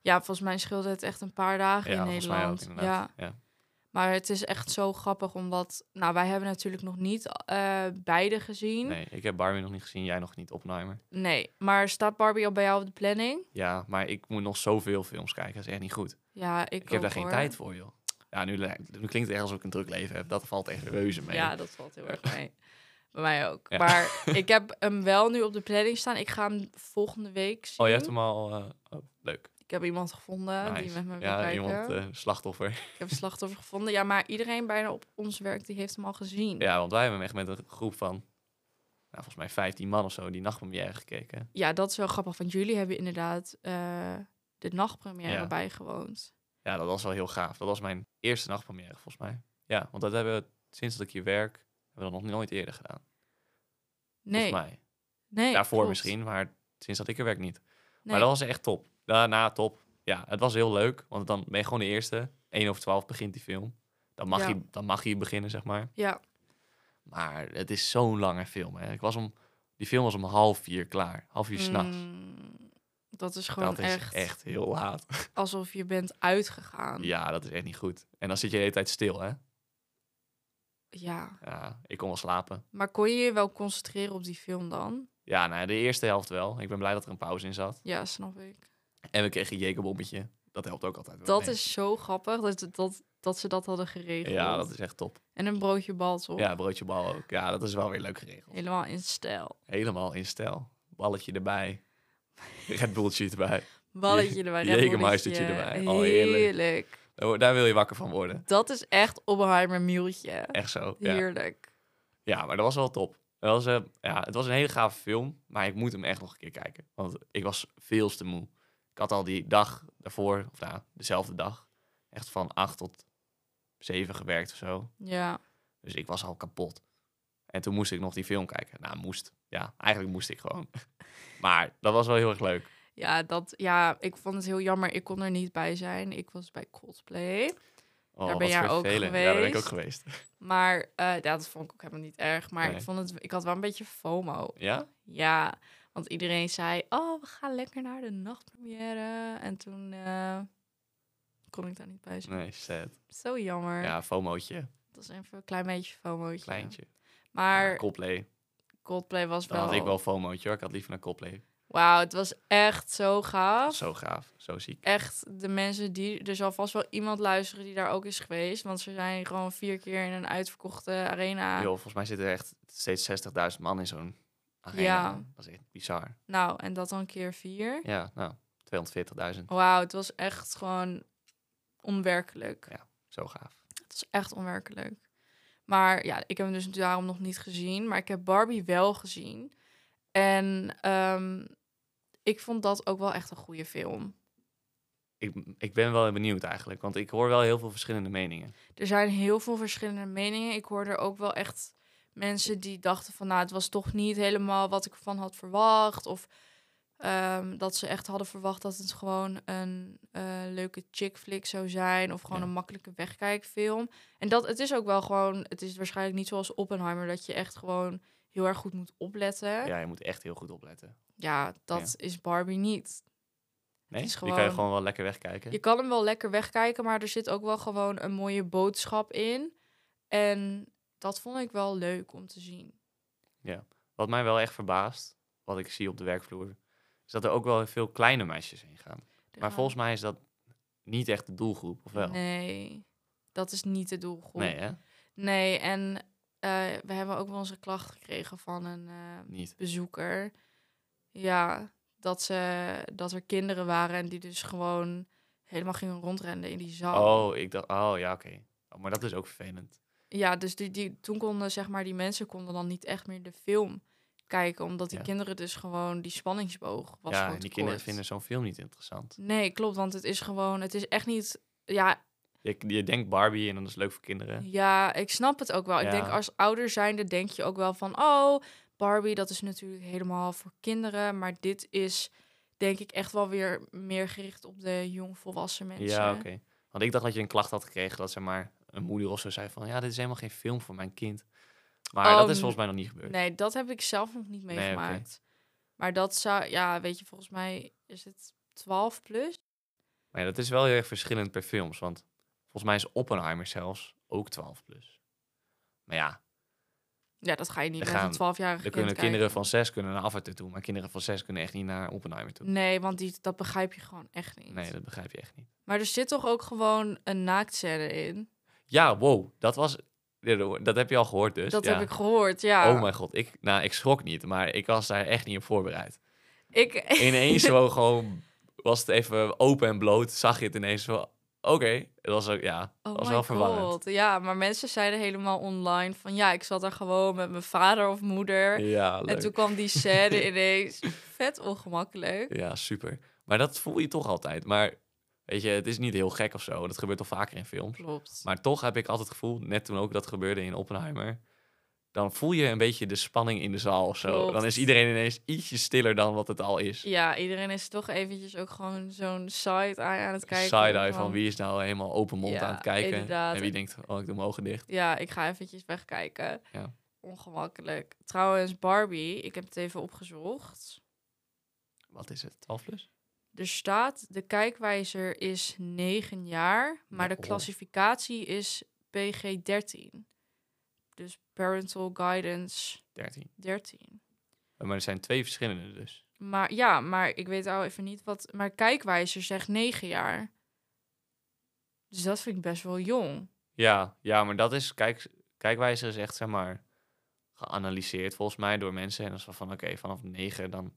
[SPEAKER 2] ja. volgens mij scheelde het echt een paar dagen in
[SPEAKER 1] volgens mij ook,
[SPEAKER 2] Nederland. ja,
[SPEAKER 1] inderdaad. Ja.
[SPEAKER 2] maar het is echt zo grappig omdat... Nou, wij hebben natuurlijk nog niet eh, beide gezien. Nee.
[SPEAKER 1] Nee, ik heb Barbie nog niet gezien, jij nog niet, Oppenheimer.
[SPEAKER 2] maar staat Barbie al bij jou op de planning?
[SPEAKER 1] Ja, maar ik moet nog zoveel films kijken, dat is echt niet goed.
[SPEAKER 2] Ja, ik,
[SPEAKER 1] Ik, heb
[SPEAKER 2] ook,
[SPEAKER 1] daar geen
[SPEAKER 2] hoor.
[SPEAKER 1] tijd voor, joh. Ja, nu, lijkt- nu klinkt het echt alsof ik een druk leven heb. Dat valt echt reuze mee.
[SPEAKER 2] Ja, dat valt heel erg mee. Bij mij ook.
[SPEAKER 1] Ja.
[SPEAKER 2] Maar ik heb hem wel nu op de planning staan. Ik ga hem volgende week zien.
[SPEAKER 1] Oh, je hebt hem al... eh, oh, leuk.
[SPEAKER 2] Ik heb iemand gevonden Oh, die
[SPEAKER 1] Nice.
[SPEAKER 2] met me wil
[SPEAKER 1] ja,
[SPEAKER 2] kijken.
[SPEAKER 1] iemand eh, slachtoffer.
[SPEAKER 2] Ik heb een slachtoffer gevonden. Ja, maar iedereen bijna op ons werk die heeft hem al gezien.
[SPEAKER 1] Ja, want wij hebben hem echt met een groep van... Nou, volgens mij 15 man of zo die nachtpremière gekeken.
[SPEAKER 2] Ja, dat is wel grappig. Want jullie hebben inderdaad eh, de nachtpremière
[SPEAKER 1] Ja.
[SPEAKER 2] bijgewoond.
[SPEAKER 1] Ja, dat was wel heel gaaf. Dat was mijn eerste nachtpremière, volgens mij. Ja, want dat hebben we sinds dat ik hier werk... hebben we dat nog nooit eerder gedaan.
[SPEAKER 2] Nee,
[SPEAKER 1] Volgens mij.
[SPEAKER 2] nee.
[SPEAKER 1] Daarvoor
[SPEAKER 2] klopt.
[SPEAKER 1] misschien, maar sinds dat ik er werk niet.
[SPEAKER 2] Nee.
[SPEAKER 1] Maar dat was echt top. Daarna top. Ja, het was heel leuk. Want dan ben je gewoon de eerste. 1 over 12 begint die film. Dan mag,
[SPEAKER 2] Ja.
[SPEAKER 1] je, dan mag je beginnen, zeg maar.
[SPEAKER 2] Ja,
[SPEAKER 1] Maar het is zo'n lange film. Hè. Ik was om, die film was om half vier klaar. Half vier s'nachts.
[SPEAKER 2] Mm, dat is gewoon
[SPEAKER 1] dat is
[SPEAKER 2] echt,
[SPEAKER 1] echt. heel laat.
[SPEAKER 2] alsof je bent uitgegaan.
[SPEAKER 1] Ja, dat is echt niet goed. En dan zit je de hele tijd stil, hè?
[SPEAKER 2] Ja.
[SPEAKER 1] Ja, ik kon wel slapen.
[SPEAKER 2] Maar kon je je wel concentreren op die film dan?
[SPEAKER 1] Ja, nou, de eerste helft wel. Ik ben blij dat er een pauze in zat.
[SPEAKER 2] Ja, snap ik.
[SPEAKER 1] En we kregen een jekerbommetje. Dat helpt ook altijd. wel
[SPEAKER 2] Dat
[SPEAKER 1] mee.
[SPEAKER 2] is zo grappig dat, dat, dat ze dat hadden geregeld.
[SPEAKER 1] Ja, dat is echt top.
[SPEAKER 2] En een broodje bal toch?
[SPEAKER 1] Ja, broodje bal ook. Ja, dat is wel weer leuk geregeld.
[SPEAKER 2] Helemaal in stijl.
[SPEAKER 1] Helemaal in stijl. Balletje erbij. Red Bulltje erbij.
[SPEAKER 2] Balletje erbij,
[SPEAKER 1] Jegermeistertje
[SPEAKER 2] redbolletje.
[SPEAKER 1] erbij. Oh, heerlijk. Daar wo- Daar wil je wakker van worden.
[SPEAKER 2] Dat is echt Oppenheimer mieltje.
[SPEAKER 1] Echt zo. Ja,
[SPEAKER 2] Heerlijk.
[SPEAKER 1] ja maar dat was wel top. Dat was, eh, ja, het was een hele gave film, maar ik moet hem echt nog een keer kijken. Want ik was veel te moe. Ik had al die dag daarvoor, of nou, dezelfde dag, echt van 8 tot 7 gewerkt of zo.
[SPEAKER 2] Ja.
[SPEAKER 1] Dus ik was al kapot. En toen moest ik nog die film kijken. Nou, moest. Ja, eigenlijk moest ik gewoon. Maar dat was wel heel erg leuk.
[SPEAKER 2] Ja, dat, ja, ik vond het heel jammer. Ik kon er niet bij zijn. Ik was bij Coldplay.
[SPEAKER 1] Oh,
[SPEAKER 2] Daar ben
[SPEAKER 1] wat
[SPEAKER 2] jij ook
[SPEAKER 1] vervelend. Ja, daar ben ik ook
[SPEAKER 2] geweest.
[SPEAKER 1] geweest.
[SPEAKER 2] Maar eh, ja, dat vond ik ook helemaal niet erg. Maar
[SPEAKER 1] Nee.
[SPEAKER 2] ik, vond het, ik had wel een beetje FOMO.
[SPEAKER 1] Ja?
[SPEAKER 2] Ja, want iedereen zei... Oh, we gaan lekker naar de nachtpremière. En toen eh, kon ik daar niet bij zijn.
[SPEAKER 1] Nee, sad.
[SPEAKER 2] Zo jammer.
[SPEAKER 1] Ja, FOMO'tje.
[SPEAKER 2] Dat is even een klein beetje FOMO'tje.
[SPEAKER 1] Kleintje.
[SPEAKER 2] Maar
[SPEAKER 1] Coldplay.
[SPEAKER 2] Coldplay was
[SPEAKER 1] Dan
[SPEAKER 2] wel...
[SPEAKER 1] had ik wel FOMO'tje hoor. Ik had liever naar Coldplay.
[SPEAKER 2] Wauw, het was echt zo gaaf.
[SPEAKER 1] Zo gaaf. Zo ziek.
[SPEAKER 2] Echt, de mensen die... Er zal vast wel iemand luisteren die daar ook is geweest. Want ze zijn gewoon vier keer in een uitverkochte arena.
[SPEAKER 1] Joh, volgens mij zitten er echt steeds 60.000 man in zo'n arena.
[SPEAKER 2] Ja.
[SPEAKER 1] Dat is echt bizar.
[SPEAKER 2] Nou, en dat dan keer vier.
[SPEAKER 1] Ja, nou, 240.000.
[SPEAKER 2] Wauw, het was echt gewoon onwerkelijk.
[SPEAKER 1] Ja. Zo gaaf.
[SPEAKER 2] Het was echt onwerkelijk. Maar ja, ik heb hem dus daarom nog niet gezien. Maar ik heb Barbie wel gezien. En ehm, ik vond dat ook wel echt een goede film.
[SPEAKER 1] Ik, ik ben wel benieuwd eigenlijk, want ik hoor wel heel veel verschillende meningen.
[SPEAKER 2] Er zijn heel veel verschillende meningen. Ik hoorde ook wel echt mensen die dachten van... nou, het was toch niet helemaal wat ik ervan had verwacht. Of ehm, dat ze echt hadden verwacht dat het gewoon een eh, leuke chick flick zou zijn. Of gewoon
[SPEAKER 1] Ja.
[SPEAKER 2] een makkelijke wegkijkfilm. En dat, het is ook wel gewoon... het is waarschijnlijk niet zoals Oppenheimer... dat je echt gewoon heel erg goed moet opletten. Ja,
[SPEAKER 1] Ja, je moet echt heel goed opletten.
[SPEAKER 2] dat is Barbie niet.
[SPEAKER 1] Nee?
[SPEAKER 2] is
[SPEAKER 1] Je kan je
[SPEAKER 2] gewoon-
[SPEAKER 1] gewoon wel lekker wegkijken.
[SPEAKER 2] Je kan hem wel lekker wegkijken, maar er zit ook wel gewoon een mooie boodschap in. En dat vond ik wel leuk om te zien.
[SPEAKER 1] Wat mij wel echt verbaast, wat ik zie op de werkvloer, is dat er ook wel veel kleine meisjes heen gaan. Maar volgens mij is dat niet echt de doelgroep, of wel?
[SPEAKER 2] Nee, dat is niet de doelgroep.
[SPEAKER 1] Nee, hè?
[SPEAKER 2] Nee, en eh, we hebben ook wel onze klacht gekregen van een eh,
[SPEAKER 1] Niet.
[SPEAKER 2] bezoeker. Ja, dat, ze, dat er kinderen waren en die dus gewoon helemaal gingen rondrennen in die zaal.
[SPEAKER 1] Oh, ik dacht, oh ja, oké. Oh, maar dat is ook vervelend.
[SPEAKER 2] Ja, dus die, die, toen konden zeg maar, die mensen konden dan niet echt meer de film kijken. Omdat die
[SPEAKER 1] Ja.
[SPEAKER 2] kinderen dus gewoon die spanningsboog was
[SPEAKER 1] ja,
[SPEAKER 2] gewoon
[SPEAKER 1] en
[SPEAKER 2] te
[SPEAKER 1] die kinderen
[SPEAKER 2] kort.
[SPEAKER 1] vinden zo'n film niet interessant.
[SPEAKER 2] Nee, klopt, want het is gewoon... Het is echt niet... Ja,
[SPEAKER 1] Je, je denkt Barbie en dan is het leuk voor kinderen.
[SPEAKER 2] ja ik snap het ook wel. Ik
[SPEAKER 1] Ja.
[SPEAKER 2] denk als ouder zijnde denk je ook wel van... Oh, Barbie, dat is natuurlijk helemaal voor kinderen. Maar dit is denk ik echt wel weer meer gericht op de jongvolwassen mensen.
[SPEAKER 1] Ja, oké. Want ik dacht dat je een klacht had gekregen dat ze maar een moeder of zo zei van, ja, dit is helemaal geen film voor mijn kind. Maar
[SPEAKER 2] Oh,
[SPEAKER 1] dat is
[SPEAKER 2] n-
[SPEAKER 1] volgens mij nog niet gebeurd.
[SPEAKER 2] Nee, dat heb ik zelf nog niet
[SPEAKER 1] oké.
[SPEAKER 2] meegemaakt. Maar dat zou... Ja, weet je, volgens mij is het 12 plus.
[SPEAKER 1] Maar ja, dat is wel heel erg verschillend per films. Want volgens mij is Oppenheimer zelfs ook 12 plus. Maar ja,
[SPEAKER 2] Ja, dat ga je niet
[SPEAKER 1] Er
[SPEAKER 2] met een
[SPEAKER 1] gaan-
[SPEAKER 2] 12-jarige
[SPEAKER 1] Er
[SPEAKER 2] kind
[SPEAKER 1] kunnen kinderen
[SPEAKER 2] kijken.
[SPEAKER 1] van zes kunnen naar Avatar toe, maar kinderen van zes kunnen echt niet naar Oppenheimer toe.
[SPEAKER 2] Nee, want die, dat begrijp je gewoon echt niet.
[SPEAKER 1] Nee, dat begrijp je echt niet.
[SPEAKER 2] Maar er zit toch ook gewoon een naaktscène in?
[SPEAKER 1] Ja, wow, dat was. Dat heb je al gehoord dus.
[SPEAKER 2] dat
[SPEAKER 1] ja.
[SPEAKER 2] heb ik gehoord, ja.
[SPEAKER 1] Oh mijn god, ik, nou, ik schrok niet, maar ik was daar echt niet op voorbereid.
[SPEAKER 2] ik,
[SPEAKER 1] Ineens zo gewoon, was het even open en bloot, zag je het ineens zo, oké. Dat was ook, ja,
[SPEAKER 2] Oh
[SPEAKER 1] was
[SPEAKER 2] my
[SPEAKER 1] wel verwarrend.
[SPEAKER 2] god, Ja, maar mensen zeiden helemaal online van... ja, ik zat daar gewoon met mijn vader of moeder.
[SPEAKER 1] Ja, leuk.
[SPEAKER 2] en toen kwam die scène ineens. Vet ongemakkelijk.
[SPEAKER 1] Ja, super. Maar dat voel je toch altijd. Maar weet je, het is niet heel gek of zo. Dat gebeurt al vaker in films.
[SPEAKER 2] Klopt.
[SPEAKER 1] Maar toch heb ik altijd het gevoel, net toen ook dat gebeurde in Oppenheimer. Dan voel je een beetje de spanning in de zaal of zo.
[SPEAKER 2] Klopt.
[SPEAKER 1] Dan is iedereen ineens ietsje stiller dan wat het al is.
[SPEAKER 2] Ja, iedereen is toch eventjes ook gewoon zo'n side-eye aan het kijken.
[SPEAKER 1] Side-eye van wie is nou helemaal open mond
[SPEAKER 2] Ja,
[SPEAKER 1] aan het kijken.
[SPEAKER 2] inderdaad.
[SPEAKER 1] En wie denkt, oh, ik doe mijn ogen dicht.
[SPEAKER 2] Ja, ik ga eventjes wegkijken.
[SPEAKER 1] Ja.
[SPEAKER 2] Ongemakkelijk. Trouwens, Barbie, ik heb het even opgezocht.
[SPEAKER 1] Wat is het? 12 plus?
[SPEAKER 2] Er staat, de kijkwijzer is 9 jaar, maar de
[SPEAKER 1] Oh.
[SPEAKER 2] klassificatie is PG-13. Dus Parental Guidance
[SPEAKER 1] 13.
[SPEAKER 2] 13.
[SPEAKER 1] Maar er zijn twee verschillende dus.
[SPEAKER 2] Maar ja, maar ik weet al even niet wat... Maar kijkwijzer zegt 9 jaar. Dus dat vind ik best wel jong.
[SPEAKER 1] Ja, ja maar dat is, kijk, kijkwijzer is echt, zeg maar, geanalyseerd volgens mij door mensen. En dan is van, van oké, vanaf negen dan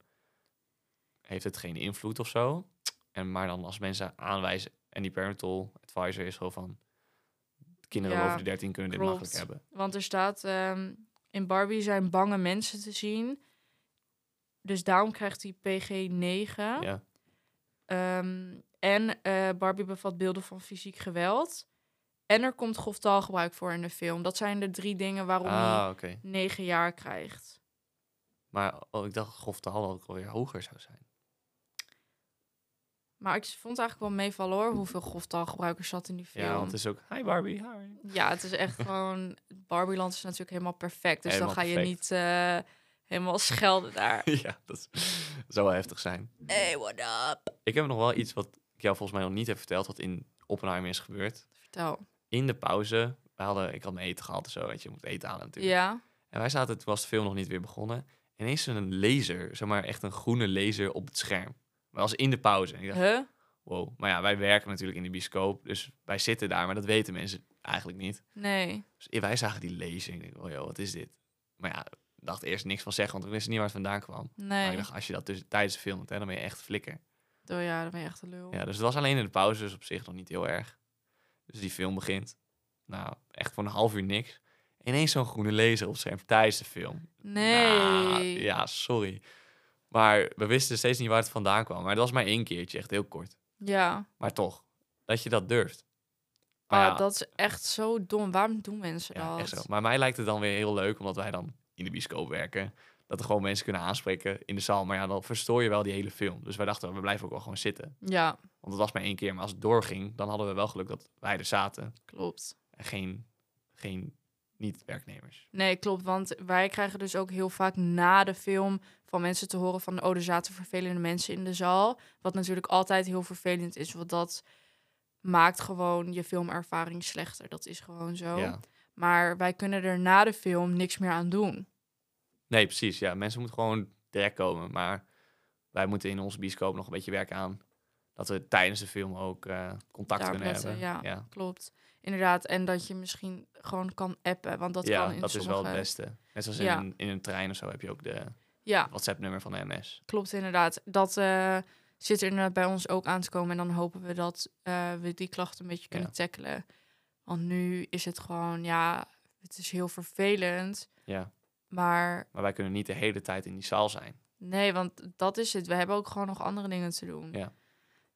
[SPEAKER 1] heeft het geen invloed of zo. En, maar dan als mensen aanwijzen, en die parental advisor is gewoon van, kinderen
[SPEAKER 2] Ja,
[SPEAKER 1] boven de 13 kunnen dit
[SPEAKER 2] klopt.
[SPEAKER 1] makkelijk hebben.
[SPEAKER 2] Want er staat, ehm, in Barbie zijn bange mensen te zien. Dus daarom krijgt hij PG-9.
[SPEAKER 1] Ja.
[SPEAKER 2] Ehm, en eh, Barbie bevat beelden van fysiek geweld. En er komt grof taalgebruik voor in de film. Dat zijn de drie dingen waarom
[SPEAKER 1] Ah,
[SPEAKER 2] hij
[SPEAKER 1] oké.
[SPEAKER 2] negen jaar krijgt.
[SPEAKER 1] Maar oh, ik dacht dat grof taal ook alweer hoger zou zijn.
[SPEAKER 2] Maar ik vond eigenlijk wel meevallen hoor, hoeveel grof taalgebruik er zat in die film.
[SPEAKER 1] Ja, want het is ook, hi Barbie, hi.
[SPEAKER 2] Ja, het is echt gewoon... Barbieland is natuurlijk helemaal perfect. Dus
[SPEAKER 1] Helemaal
[SPEAKER 2] dan ga je
[SPEAKER 1] perfect.
[SPEAKER 2] niet eh, helemaal schelden daar.
[SPEAKER 1] ja, dat zou wel heftig zijn.
[SPEAKER 2] hey, what up?
[SPEAKER 1] Ik heb nog wel iets wat ik jou volgens mij nog niet heb verteld, wat in Oppenheimer is gebeurd.
[SPEAKER 2] Vertel.
[SPEAKER 1] in de pauze. We hadden, ik had mijn eten gehad en zo, weet je, je moet eten halen natuurlijk.
[SPEAKER 2] Ja?
[SPEAKER 1] En wij zaten, toen was de film nog niet weer begonnen. Ineens een laser, zeg maar echt een groene laser op het scherm. Maar als in de pauze. En ik dacht,
[SPEAKER 2] Huh?
[SPEAKER 1] wow. Maar ja, wij werken natuurlijk in de bioscoop, dus wij zitten daar, maar dat weten mensen eigenlijk niet.
[SPEAKER 2] Nee.
[SPEAKER 1] Dus wij zagen die laser en ik dacht, oh joh, wat is dit? Maar ja, ik dacht eerst niks van zeggen, want we wisten niet waar het vandaan kwam. Maar
[SPEAKER 2] Nee.
[SPEAKER 1] ik dacht, als je dat dus tijdens de film doet, hè, dan ben je echt flikker.
[SPEAKER 2] Oh ja, dan ben je echt een lul.
[SPEAKER 1] Ja, dus het was alleen in de pauze, dus op zich nog niet heel erg. Dus die film begint. Nou, echt voor een half uur niks. Ineens zo'n groene laser op het scherm tijdens de film.
[SPEAKER 2] Nee.
[SPEAKER 1] Nou, ja, sorry. Maar we wisten steeds niet waar het vandaan kwam. Maar het was maar één keertje, echt heel kort.
[SPEAKER 2] ja.
[SPEAKER 1] Maar toch, dat je dat durft. Maar
[SPEAKER 2] Ah,
[SPEAKER 1] ja,
[SPEAKER 2] dat is echt zo dom. Waarom doen mensen
[SPEAKER 1] ja,
[SPEAKER 2] dat?
[SPEAKER 1] echt zo. Maar mij lijkt het dan weer heel leuk, omdat wij dan in de bioscoop werken. Dat er gewoon mensen kunnen aanspreken in de zaal. Maar ja, dan verstoor je wel die hele film. Dus wij dachten, we blijven ook wel gewoon zitten.
[SPEAKER 2] Ja,
[SPEAKER 1] Want het was maar één keer. Maar als het doorging, dan hadden we wel geluk dat wij er zaten.
[SPEAKER 2] klopt.
[SPEAKER 1] En geen, geen niet-werknemers.
[SPEAKER 2] Nee, klopt. Want wij krijgen dus ook heel vaak na de film van mensen te horen van... oh, er zaten vervelende mensen in de zaal. Wat natuurlijk altijd heel vervelend is. Want dat maakt gewoon je filmervaring slechter. Dat is gewoon zo.
[SPEAKER 1] Ja.
[SPEAKER 2] Maar wij kunnen er na de film niks meer aan doen.
[SPEAKER 1] Nee, precies. Ja, mensen moeten gewoon direct komen. Maar wij moeten in onze bioscoop nog een beetje werk aan. Dat we tijdens de film ook eh, contact
[SPEAKER 2] Daar
[SPEAKER 1] kunnen
[SPEAKER 2] letten,
[SPEAKER 1] hebben.
[SPEAKER 2] ja. Klopt. Inderdaad. En dat je misschien gewoon kan appen. Want dat
[SPEAKER 1] Ja,
[SPEAKER 2] kan in
[SPEAKER 1] dat is wel het
[SPEAKER 2] sommige-
[SPEAKER 1] beste. Net zoals
[SPEAKER 2] Ja.
[SPEAKER 1] in, een, in een trein of zo heb je ook de
[SPEAKER 2] Ja,
[SPEAKER 1] WhatsApp-nummer van de MS.
[SPEAKER 2] Klopt inderdaad. Dat eh, zit er inderdaad bij ons ook aan te komen. En dan hopen we dat eh, we die klachten een beetje kunnen
[SPEAKER 1] Ja.
[SPEAKER 2] tackelen. Want nu is het gewoon, ja, het is heel vervelend.
[SPEAKER 1] Ja,
[SPEAKER 2] Maar
[SPEAKER 1] maar wij kunnen niet de hele tijd in die zaal zijn.
[SPEAKER 2] nee, want dat is het. We hebben ook gewoon nog andere dingen te doen.
[SPEAKER 1] Ja.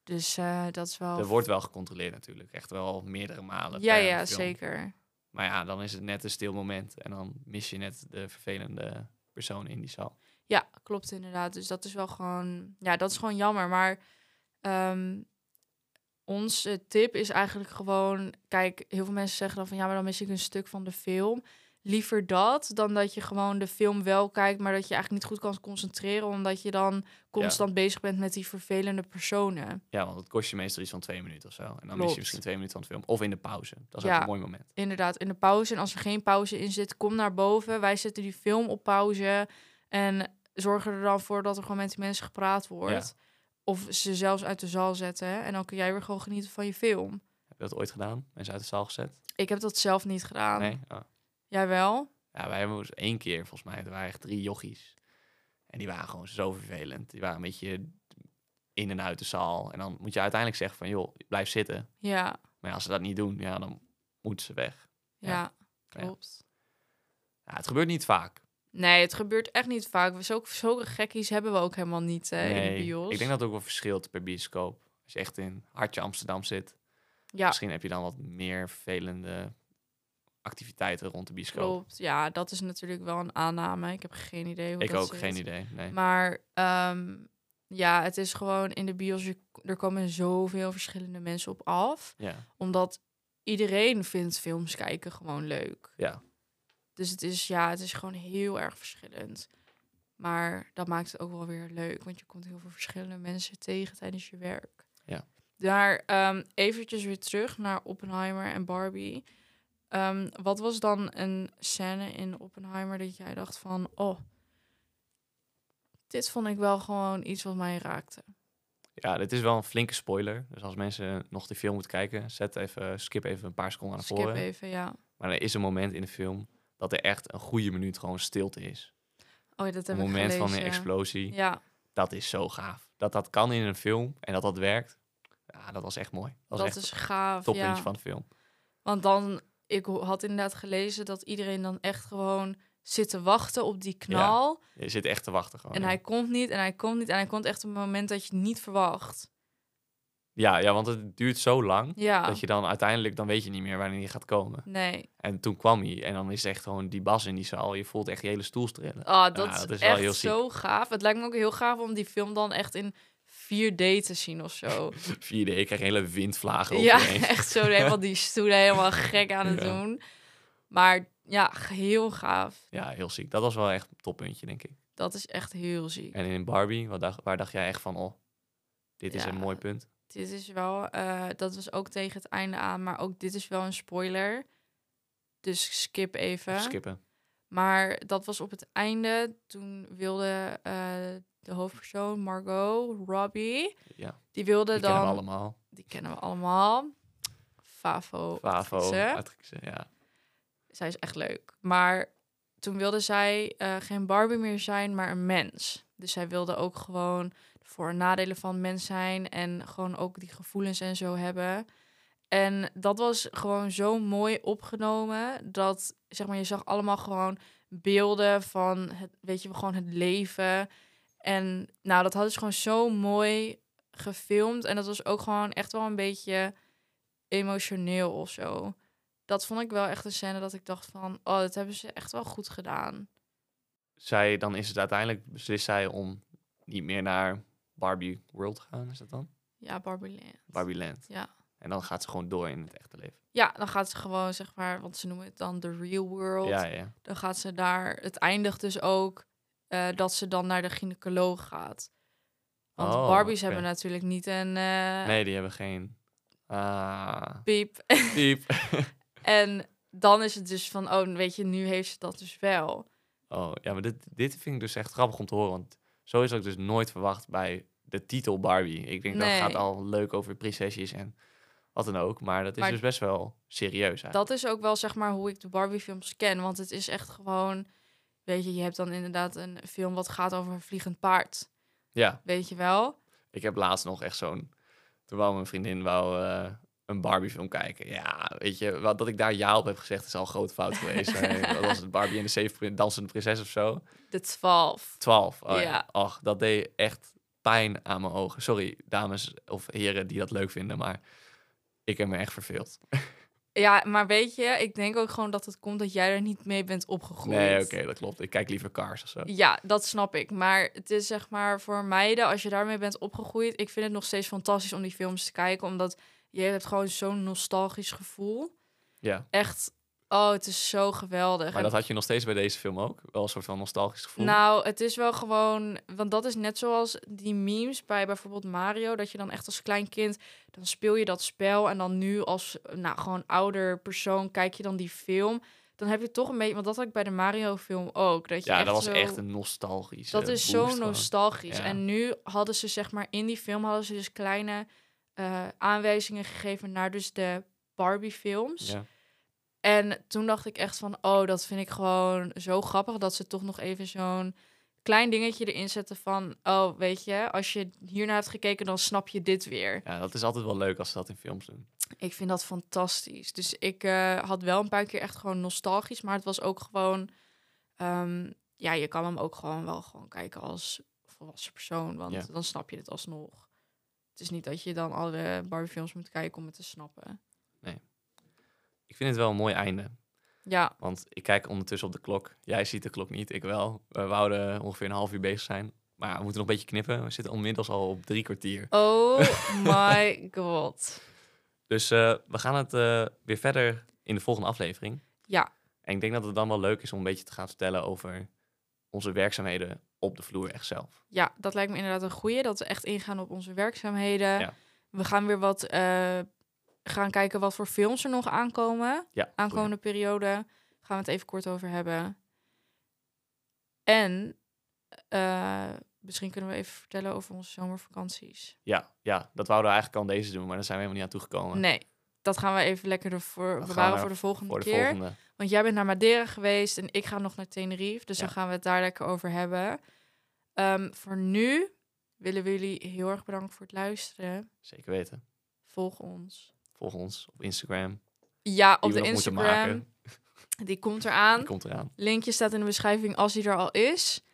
[SPEAKER 2] Dus eh, dat is wel...
[SPEAKER 1] Er wordt wel gecontroleerd natuurlijk. Echt wel meerdere malen.
[SPEAKER 2] ja,
[SPEAKER 1] per
[SPEAKER 2] ja,
[SPEAKER 1] film.
[SPEAKER 2] zeker.
[SPEAKER 1] Maar ja, dan is het net een stil moment. En dan mis je net de vervelende persoon in die zaal.
[SPEAKER 2] Ja, klopt inderdaad. Dus dat is wel gewoon, ja, dat is gewoon jammer. Maar ehm, onze tip is eigenlijk gewoon, kijk, heel veel mensen zeggen dan van ja, maar dan mis ik een stuk van de film. liever dat dan dat je gewoon de film wel kijkt, maar dat je eigenlijk niet goed kan concentreren, omdat je dan constant bezig bent met die vervelende personen.
[SPEAKER 1] Ja, want het kost je meestal iets van twee minuten of zo. En dan mis
[SPEAKER 2] Klopt.
[SPEAKER 1] je misschien twee minuten van de film. Of in de pauze. Dat is
[SPEAKER 2] Ja.
[SPEAKER 1] ook een mooi moment.
[SPEAKER 2] Inderdaad, in de pauze. En als er geen pauze in zit, kom naar boven. Wij zetten die film op pauze en zorgen er dan voor dat er gewoon met die mensen gepraat wordt. Of ze zelfs uit de zaal zetten. En dan kun jij weer gewoon genieten van je film.
[SPEAKER 1] Heb je dat ooit gedaan? Mensen uit de zaal gezet?
[SPEAKER 2] Ik heb dat zelf niet gedaan.
[SPEAKER 1] Nee? Oh.
[SPEAKER 2] Jij wel?
[SPEAKER 1] Ja, wij hebben eens één keer, volgens mij, er waren echt drie jochies. En die waren gewoon zo vervelend. Die waren een beetje in en uit de zaal. En dan moet je uiteindelijk zeggen van, joh, blijf zitten.
[SPEAKER 2] Ja,
[SPEAKER 1] Maar ja, als ze dat niet doen, ja, dan moeten ze weg.
[SPEAKER 2] ja,
[SPEAKER 1] Ja.
[SPEAKER 2] klopt.
[SPEAKER 1] Ja, het gebeurt niet vaak.
[SPEAKER 2] Nee, het gebeurt echt niet vaak. We- Zulke, zulke gekkies hebben we ook helemaal niet eh, in de
[SPEAKER 1] Nee,
[SPEAKER 2] bios.
[SPEAKER 1] ik denk dat het ook wel verschilt per bioscoop. Als je echt in hartje Amsterdam zit,
[SPEAKER 2] ja,
[SPEAKER 1] misschien heb je dan wat meer vervelende activiteiten rond de bioscoop.
[SPEAKER 2] klopt. Ja, dat is natuurlijk wel een aanname. Ik heb geen idee hoe
[SPEAKER 1] Ik
[SPEAKER 2] dat
[SPEAKER 1] ook,
[SPEAKER 2] zit.
[SPEAKER 1] geen idee. Nee.
[SPEAKER 2] Maar ehm, ja, het is gewoon in de bios, je- er komen zoveel verschillende mensen op af.
[SPEAKER 1] Ja,
[SPEAKER 2] Omdat iedereen vindt films kijken gewoon leuk.
[SPEAKER 1] ja.
[SPEAKER 2] Dus het is, ja, het is gewoon heel erg verschillend. Maar dat maakt het ook wel weer leuk, want je komt heel veel verschillende mensen tegen tijdens je werk.
[SPEAKER 1] Ja.
[SPEAKER 2] Daar ehm, eventjes weer terug naar Oppenheimer en Barbie. Ehm, wat was dan een scène in Oppenheimer dat jij dacht van, oh, dit vond ik wel gewoon iets wat mij raakte.
[SPEAKER 1] ja, dit is wel een flinke spoiler. Dus als mensen nog die film moeten kijken, zet even, skip even een paar seconden naar
[SPEAKER 2] Skip
[SPEAKER 1] voren.
[SPEAKER 2] even, ja.
[SPEAKER 1] Maar er is een moment in de film dat er echt een goede minuut gewoon stilte is.
[SPEAKER 2] Oh, ja, dat
[SPEAKER 1] Een
[SPEAKER 2] heb ik
[SPEAKER 1] moment van een
[SPEAKER 2] gelezen.
[SPEAKER 1] explosie.
[SPEAKER 2] Ja,
[SPEAKER 1] Dat is zo gaaf. Dat dat kan in een film en dat dat werkt. Ja, dat was echt mooi. Dat was
[SPEAKER 2] dat
[SPEAKER 1] echt
[SPEAKER 2] is gaaf.
[SPEAKER 1] het toppuntje
[SPEAKER 2] ja.
[SPEAKER 1] van de film.
[SPEAKER 2] Want dan, ik ho- had inderdaad gelezen dat iedereen dan echt gewoon zit te wachten op die knal.
[SPEAKER 1] Je zit echt te wachten gewoon.
[SPEAKER 2] en
[SPEAKER 1] ja.
[SPEAKER 2] hij komt niet, en hij komt niet, en hij komt echt op een moment dat je het niet verwacht.
[SPEAKER 1] ja, ja, want het duurt zo lang
[SPEAKER 2] Ja,
[SPEAKER 1] dat je dan uiteindelijk, dan weet je niet meer wanneer hij gaat komen.
[SPEAKER 2] nee.
[SPEAKER 1] En toen kwam hij en dan is echt gewoon die bas in die zaal. Je voelt echt je hele stoel trillen.
[SPEAKER 2] Ah, dat,
[SPEAKER 1] Ja, dat
[SPEAKER 2] is
[SPEAKER 1] is wel
[SPEAKER 2] echt
[SPEAKER 1] heel ziek.
[SPEAKER 2] zo gaaf. Het lijkt me ook heel gaaf om die film dan echt in 4D te zien of zo.
[SPEAKER 1] Vierde, ik kreeg hele windvlagen op
[SPEAKER 2] ja,
[SPEAKER 1] me heen.
[SPEAKER 2] echt zo helemaal die stoelen helemaal gek aan het
[SPEAKER 1] Ja.
[SPEAKER 2] doen. Maar ja, heel gaaf.
[SPEAKER 1] Ja, heel ziek. Dat was wel echt een toppuntje, denk ik.
[SPEAKER 2] Dat is echt heel ziek.
[SPEAKER 1] En in Barbie, wat dacht, waar dacht jij echt van, oh, dit is
[SPEAKER 2] Ja.
[SPEAKER 1] een mooi punt.
[SPEAKER 2] Dit is wel, eh, dat was ook tegen het einde aan, maar ook dit is wel een spoiler. Dus skip even.
[SPEAKER 1] Even Skippen.
[SPEAKER 2] Maar dat was op het einde. Toen wilde eh, de hoofdpersoon, Margot Robbie,
[SPEAKER 1] Ja,
[SPEAKER 2] die wilde
[SPEAKER 1] die
[SPEAKER 2] dan.
[SPEAKER 1] kennen we allemaal.
[SPEAKER 2] Die kennen we allemaal. Favo.
[SPEAKER 1] Favo,
[SPEAKER 2] actrice.
[SPEAKER 1] actrice, ja.
[SPEAKER 2] Zij is echt leuk. Maar toen wilde zij eh, geen Barbie meer zijn, maar een mens. Dus zij wilde ook gewoon de voor- en nadelen van mens zijn en gewoon ook die gevoelens en zo hebben. En dat was gewoon zo mooi opgenomen dat zeg maar je zag allemaal gewoon beelden van het weet je gewoon het leven en nou dat hadden ze gewoon zo mooi gefilmd en dat was ook gewoon echt wel een beetje emotioneel of zo. Dat vond ik wel echt een scène dat ik dacht van oh dat hebben ze echt wel goed gedaan.
[SPEAKER 1] Zij, dan is het uiteindelijk, beslist zij om niet meer naar Barbie World te gaan, is dat dan?
[SPEAKER 2] Ja, Barbie Land.
[SPEAKER 1] Barbie Land.
[SPEAKER 2] Ja.
[SPEAKER 1] En dan gaat ze gewoon door in het echte leven.
[SPEAKER 2] Ja, dan gaat ze gewoon zeg maar, want ze noemen het dan de real world.
[SPEAKER 1] Ja, ja.
[SPEAKER 2] Dan gaat ze daar. Het eindigt dus ook eh, dat ze dan naar de gynaecoloog gaat. Want
[SPEAKER 1] Oh,
[SPEAKER 2] Barbies
[SPEAKER 1] oké.
[SPEAKER 2] hebben natuurlijk niet een eh,
[SPEAKER 1] Nee, die hebben geen... Ah,
[SPEAKER 2] piep.
[SPEAKER 1] diep.
[SPEAKER 2] en dan is het dus van, oh, weet je, nu heeft ze dat dus wel.
[SPEAKER 1] Oh, ja, maar dit, dit vind ik dus echt grappig om te horen. Want zo is ik dus nooit verwacht bij de titel Barbie. Ik denk
[SPEAKER 2] Nee.
[SPEAKER 1] dat gaat al leuk over prinsesjes en wat dan ook. Maar dat is
[SPEAKER 2] Maar
[SPEAKER 1] dus best wel serieus eigenlijk.
[SPEAKER 2] Dat is ook wel zeg maar hoe ik de Barbie-films ken. Want het is echt gewoon, weet je, je hebt dan inderdaad een film wat gaat over een vliegend paard.
[SPEAKER 1] Ja,
[SPEAKER 2] Weet je wel?
[SPEAKER 1] ik heb laatst nog echt zo'n... Toen wou mijn vriendin wou, eh, een Barbie film kijken. Ja, weet je, wat, dat ik daar ja op heb gezegd is al een groot fout geweest. Eh, Wat was het Barbie en de zeven prin- dansende prinses of zo?
[SPEAKER 2] De 12.
[SPEAKER 1] Twaalf. Oh, ja.
[SPEAKER 2] Ja.
[SPEAKER 1] Och, dat deed echt pijn aan mijn ogen. Sorry, dames of heren die dat leuk vinden, maar ik heb me echt verveeld.
[SPEAKER 2] Ja, maar weet je, ik denk ook gewoon dat het komt dat jij er niet mee bent opgegroeid.
[SPEAKER 1] Nee, oké, dat klopt. Ik kijk liever Cars of zo.
[SPEAKER 2] Ja, dat snap ik. Maar het is zeg maar voor meiden, als je daarmee bent opgegroeid, ik vind het nog steeds fantastisch om die films te kijken, omdat je hebt gewoon zo'n nostalgisch gevoel.
[SPEAKER 1] Ja.
[SPEAKER 2] Echt, oh, het is zo geweldig.
[SPEAKER 1] Maar
[SPEAKER 2] En-
[SPEAKER 1] dat had je nog steeds bij deze film ook. Wel een soort van nostalgisch gevoel.
[SPEAKER 2] Nou, het is wel gewoon, want dat is net zoals die memes bij bijvoorbeeld Mario, dat je dan echt als klein kind, dan speel je dat spel en dan nu als, nou, gewoon ouder persoon kijk je dan die film, dan heb je toch een beetje, want dat had ik bij de Mario film ook, dat je
[SPEAKER 1] ja,
[SPEAKER 2] echt
[SPEAKER 1] dat was
[SPEAKER 2] zo-
[SPEAKER 1] echt een nostalgisch.
[SPEAKER 2] dat is zo nostalgisch.
[SPEAKER 1] Ja.
[SPEAKER 2] En nu hadden ze zeg maar in die film hadden ze dus kleine eh, aanwijzingen gegeven naar dus de Barbie films.
[SPEAKER 1] Ja.
[SPEAKER 2] En toen dacht ik echt van, oh, dat vind ik gewoon zo grappig dat ze toch nog even zo'n klein dingetje erin zetten van, oh, weet je, als je hiernaar hebt gekeken, dan snap je dit weer.
[SPEAKER 1] ja, dat is altijd wel leuk als ze dat in films doen.
[SPEAKER 2] Ik vind dat fantastisch. Dus ik eh, had wel een paar keer echt gewoon nostalgisch, maar het was ook gewoon, ehm, ja, je kan hem ook gewoon wel gewoon kijken als volwassen persoon, want
[SPEAKER 1] Ja.
[SPEAKER 2] dan snap je het alsnog. Het is niet dat je dan alle Barbie films moet kijken om het te snappen.
[SPEAKER 1] Ik vind het wel een mooi einde.
[SPEAKER 2] Ja,
[SPEAKER 1] Want ik kijk ondertussen op de klok. Jij ziet de klok niet, ik wel. We wouden ongeveer een half uur bezig zijn. Maar we moeten nog een beetje knippen. We zitten inmiddels al op drie kwartier.
[SPEAKER 2] oh my god.
[SPEAKER 1] Dus eh, we gaan het eh, weer verder in de volgende aflevering.
[SPEAKER 2] Ja.
[SPEAKER 1] En ik denk dat het dan wel leuk is om een beetje te gaan vertellen over onze werkzaamheden op de vloer echt zelf.
[SPEAKER 2] Ja, dat lijkt me inderdaad een goeie. Dat we echt ingaan op onze werkzaamheden.
[SPEAKER 1] Ja.
[SPEAKER 2] We gaan weer wat eh, gaan kijken wat voor films er nog aankomen.
[SPEAKER 1] Ja,
[SPEAKER 2] Aankomende periode. Gaan we het even kort over hebben. En eh, misschien kunnen we even vertellen over onze zomervakanties.
[SPEAKER 1] Ja, ja, dat wouden we eigenlijk al in deze doen, maar daar zijn we helemaal niet aan toegekomen.
[SPEAKER 2] Nee, dat gaan we even lekker ervoor
[SPEAKER 1] gaan
[SPEAKER 2] bewaren
[SPEAKER 1] we
[SPEAKER 2] voor de volgende
[SPEAKER 1] Voor de
[SPEAKER 2] keer.
[SPEAKER 1] volgende.
[SPEAKER 2] Want jij bent naar Madeira geweest en ik ga nog naar Tenerife. Dus
[SPEAKER 1] Ja.
[SPEAKER 2] dan gaan we het daar lekker over hebben. Ehm, voor nu willen we jullie heel erg bedanken voor het luisteren.
[SPEAKER 1] Zeker weten.
[SPEAKER 2] Volg ons.
[SPEAKER 1] Volg ons op Instagram.
[SPEAKER 2] Ja,
[SPEAKER 1] die
[SPEAKER 2] op
[SPEAKER 1] we
[SPEAKER 2] de
[SPEAKER 1] nog moeten
[SPEAKER 2] Instagram.
[SPEAKER 1] maken.
[SPEAKER 2] Die komt
[SPEAKER 1] Die
[SPEAKER 2] eraan.
[SPEAKER 1] komt eraan.
[SPEAKER 2] Linkje staat in de beschrijving als die er al is.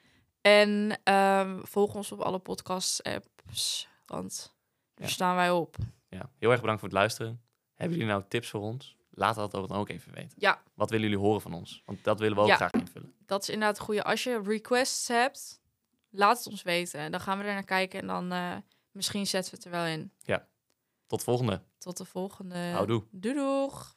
[SPEAKER 2] En ehm, volg ons op alle podcast-apps. Want daar
[SPEAKER 1] Ja.
[SPEAKER 2] staan wij op.
[SPEAKER 1] Ja. Heel erg bedankt voor het luisteren. Hebben jullie nou tips voor ons? Laat dat dan ook even weten.
[SPEAKER 2] Ja.
[SPEAKER 1] Wat willen jullie horen van ons? Want dat willen we ook
[SPEAKER 2] Ja.
[SPEAKER 1] graag invullen.
[SPEAKER 2] Dat is inderdaad het goede. Als je requests hebt, laat het ons weten. Dan gaan we er naar kijken en dan eh, misschien zetten we het er wel in.
[SPEAKER 1] Tot volgende.
[SPEAKER 2] Tot de volgende.
[SPEAKER 1] Houdoe.
[SPEAKER 2] Doei doeg.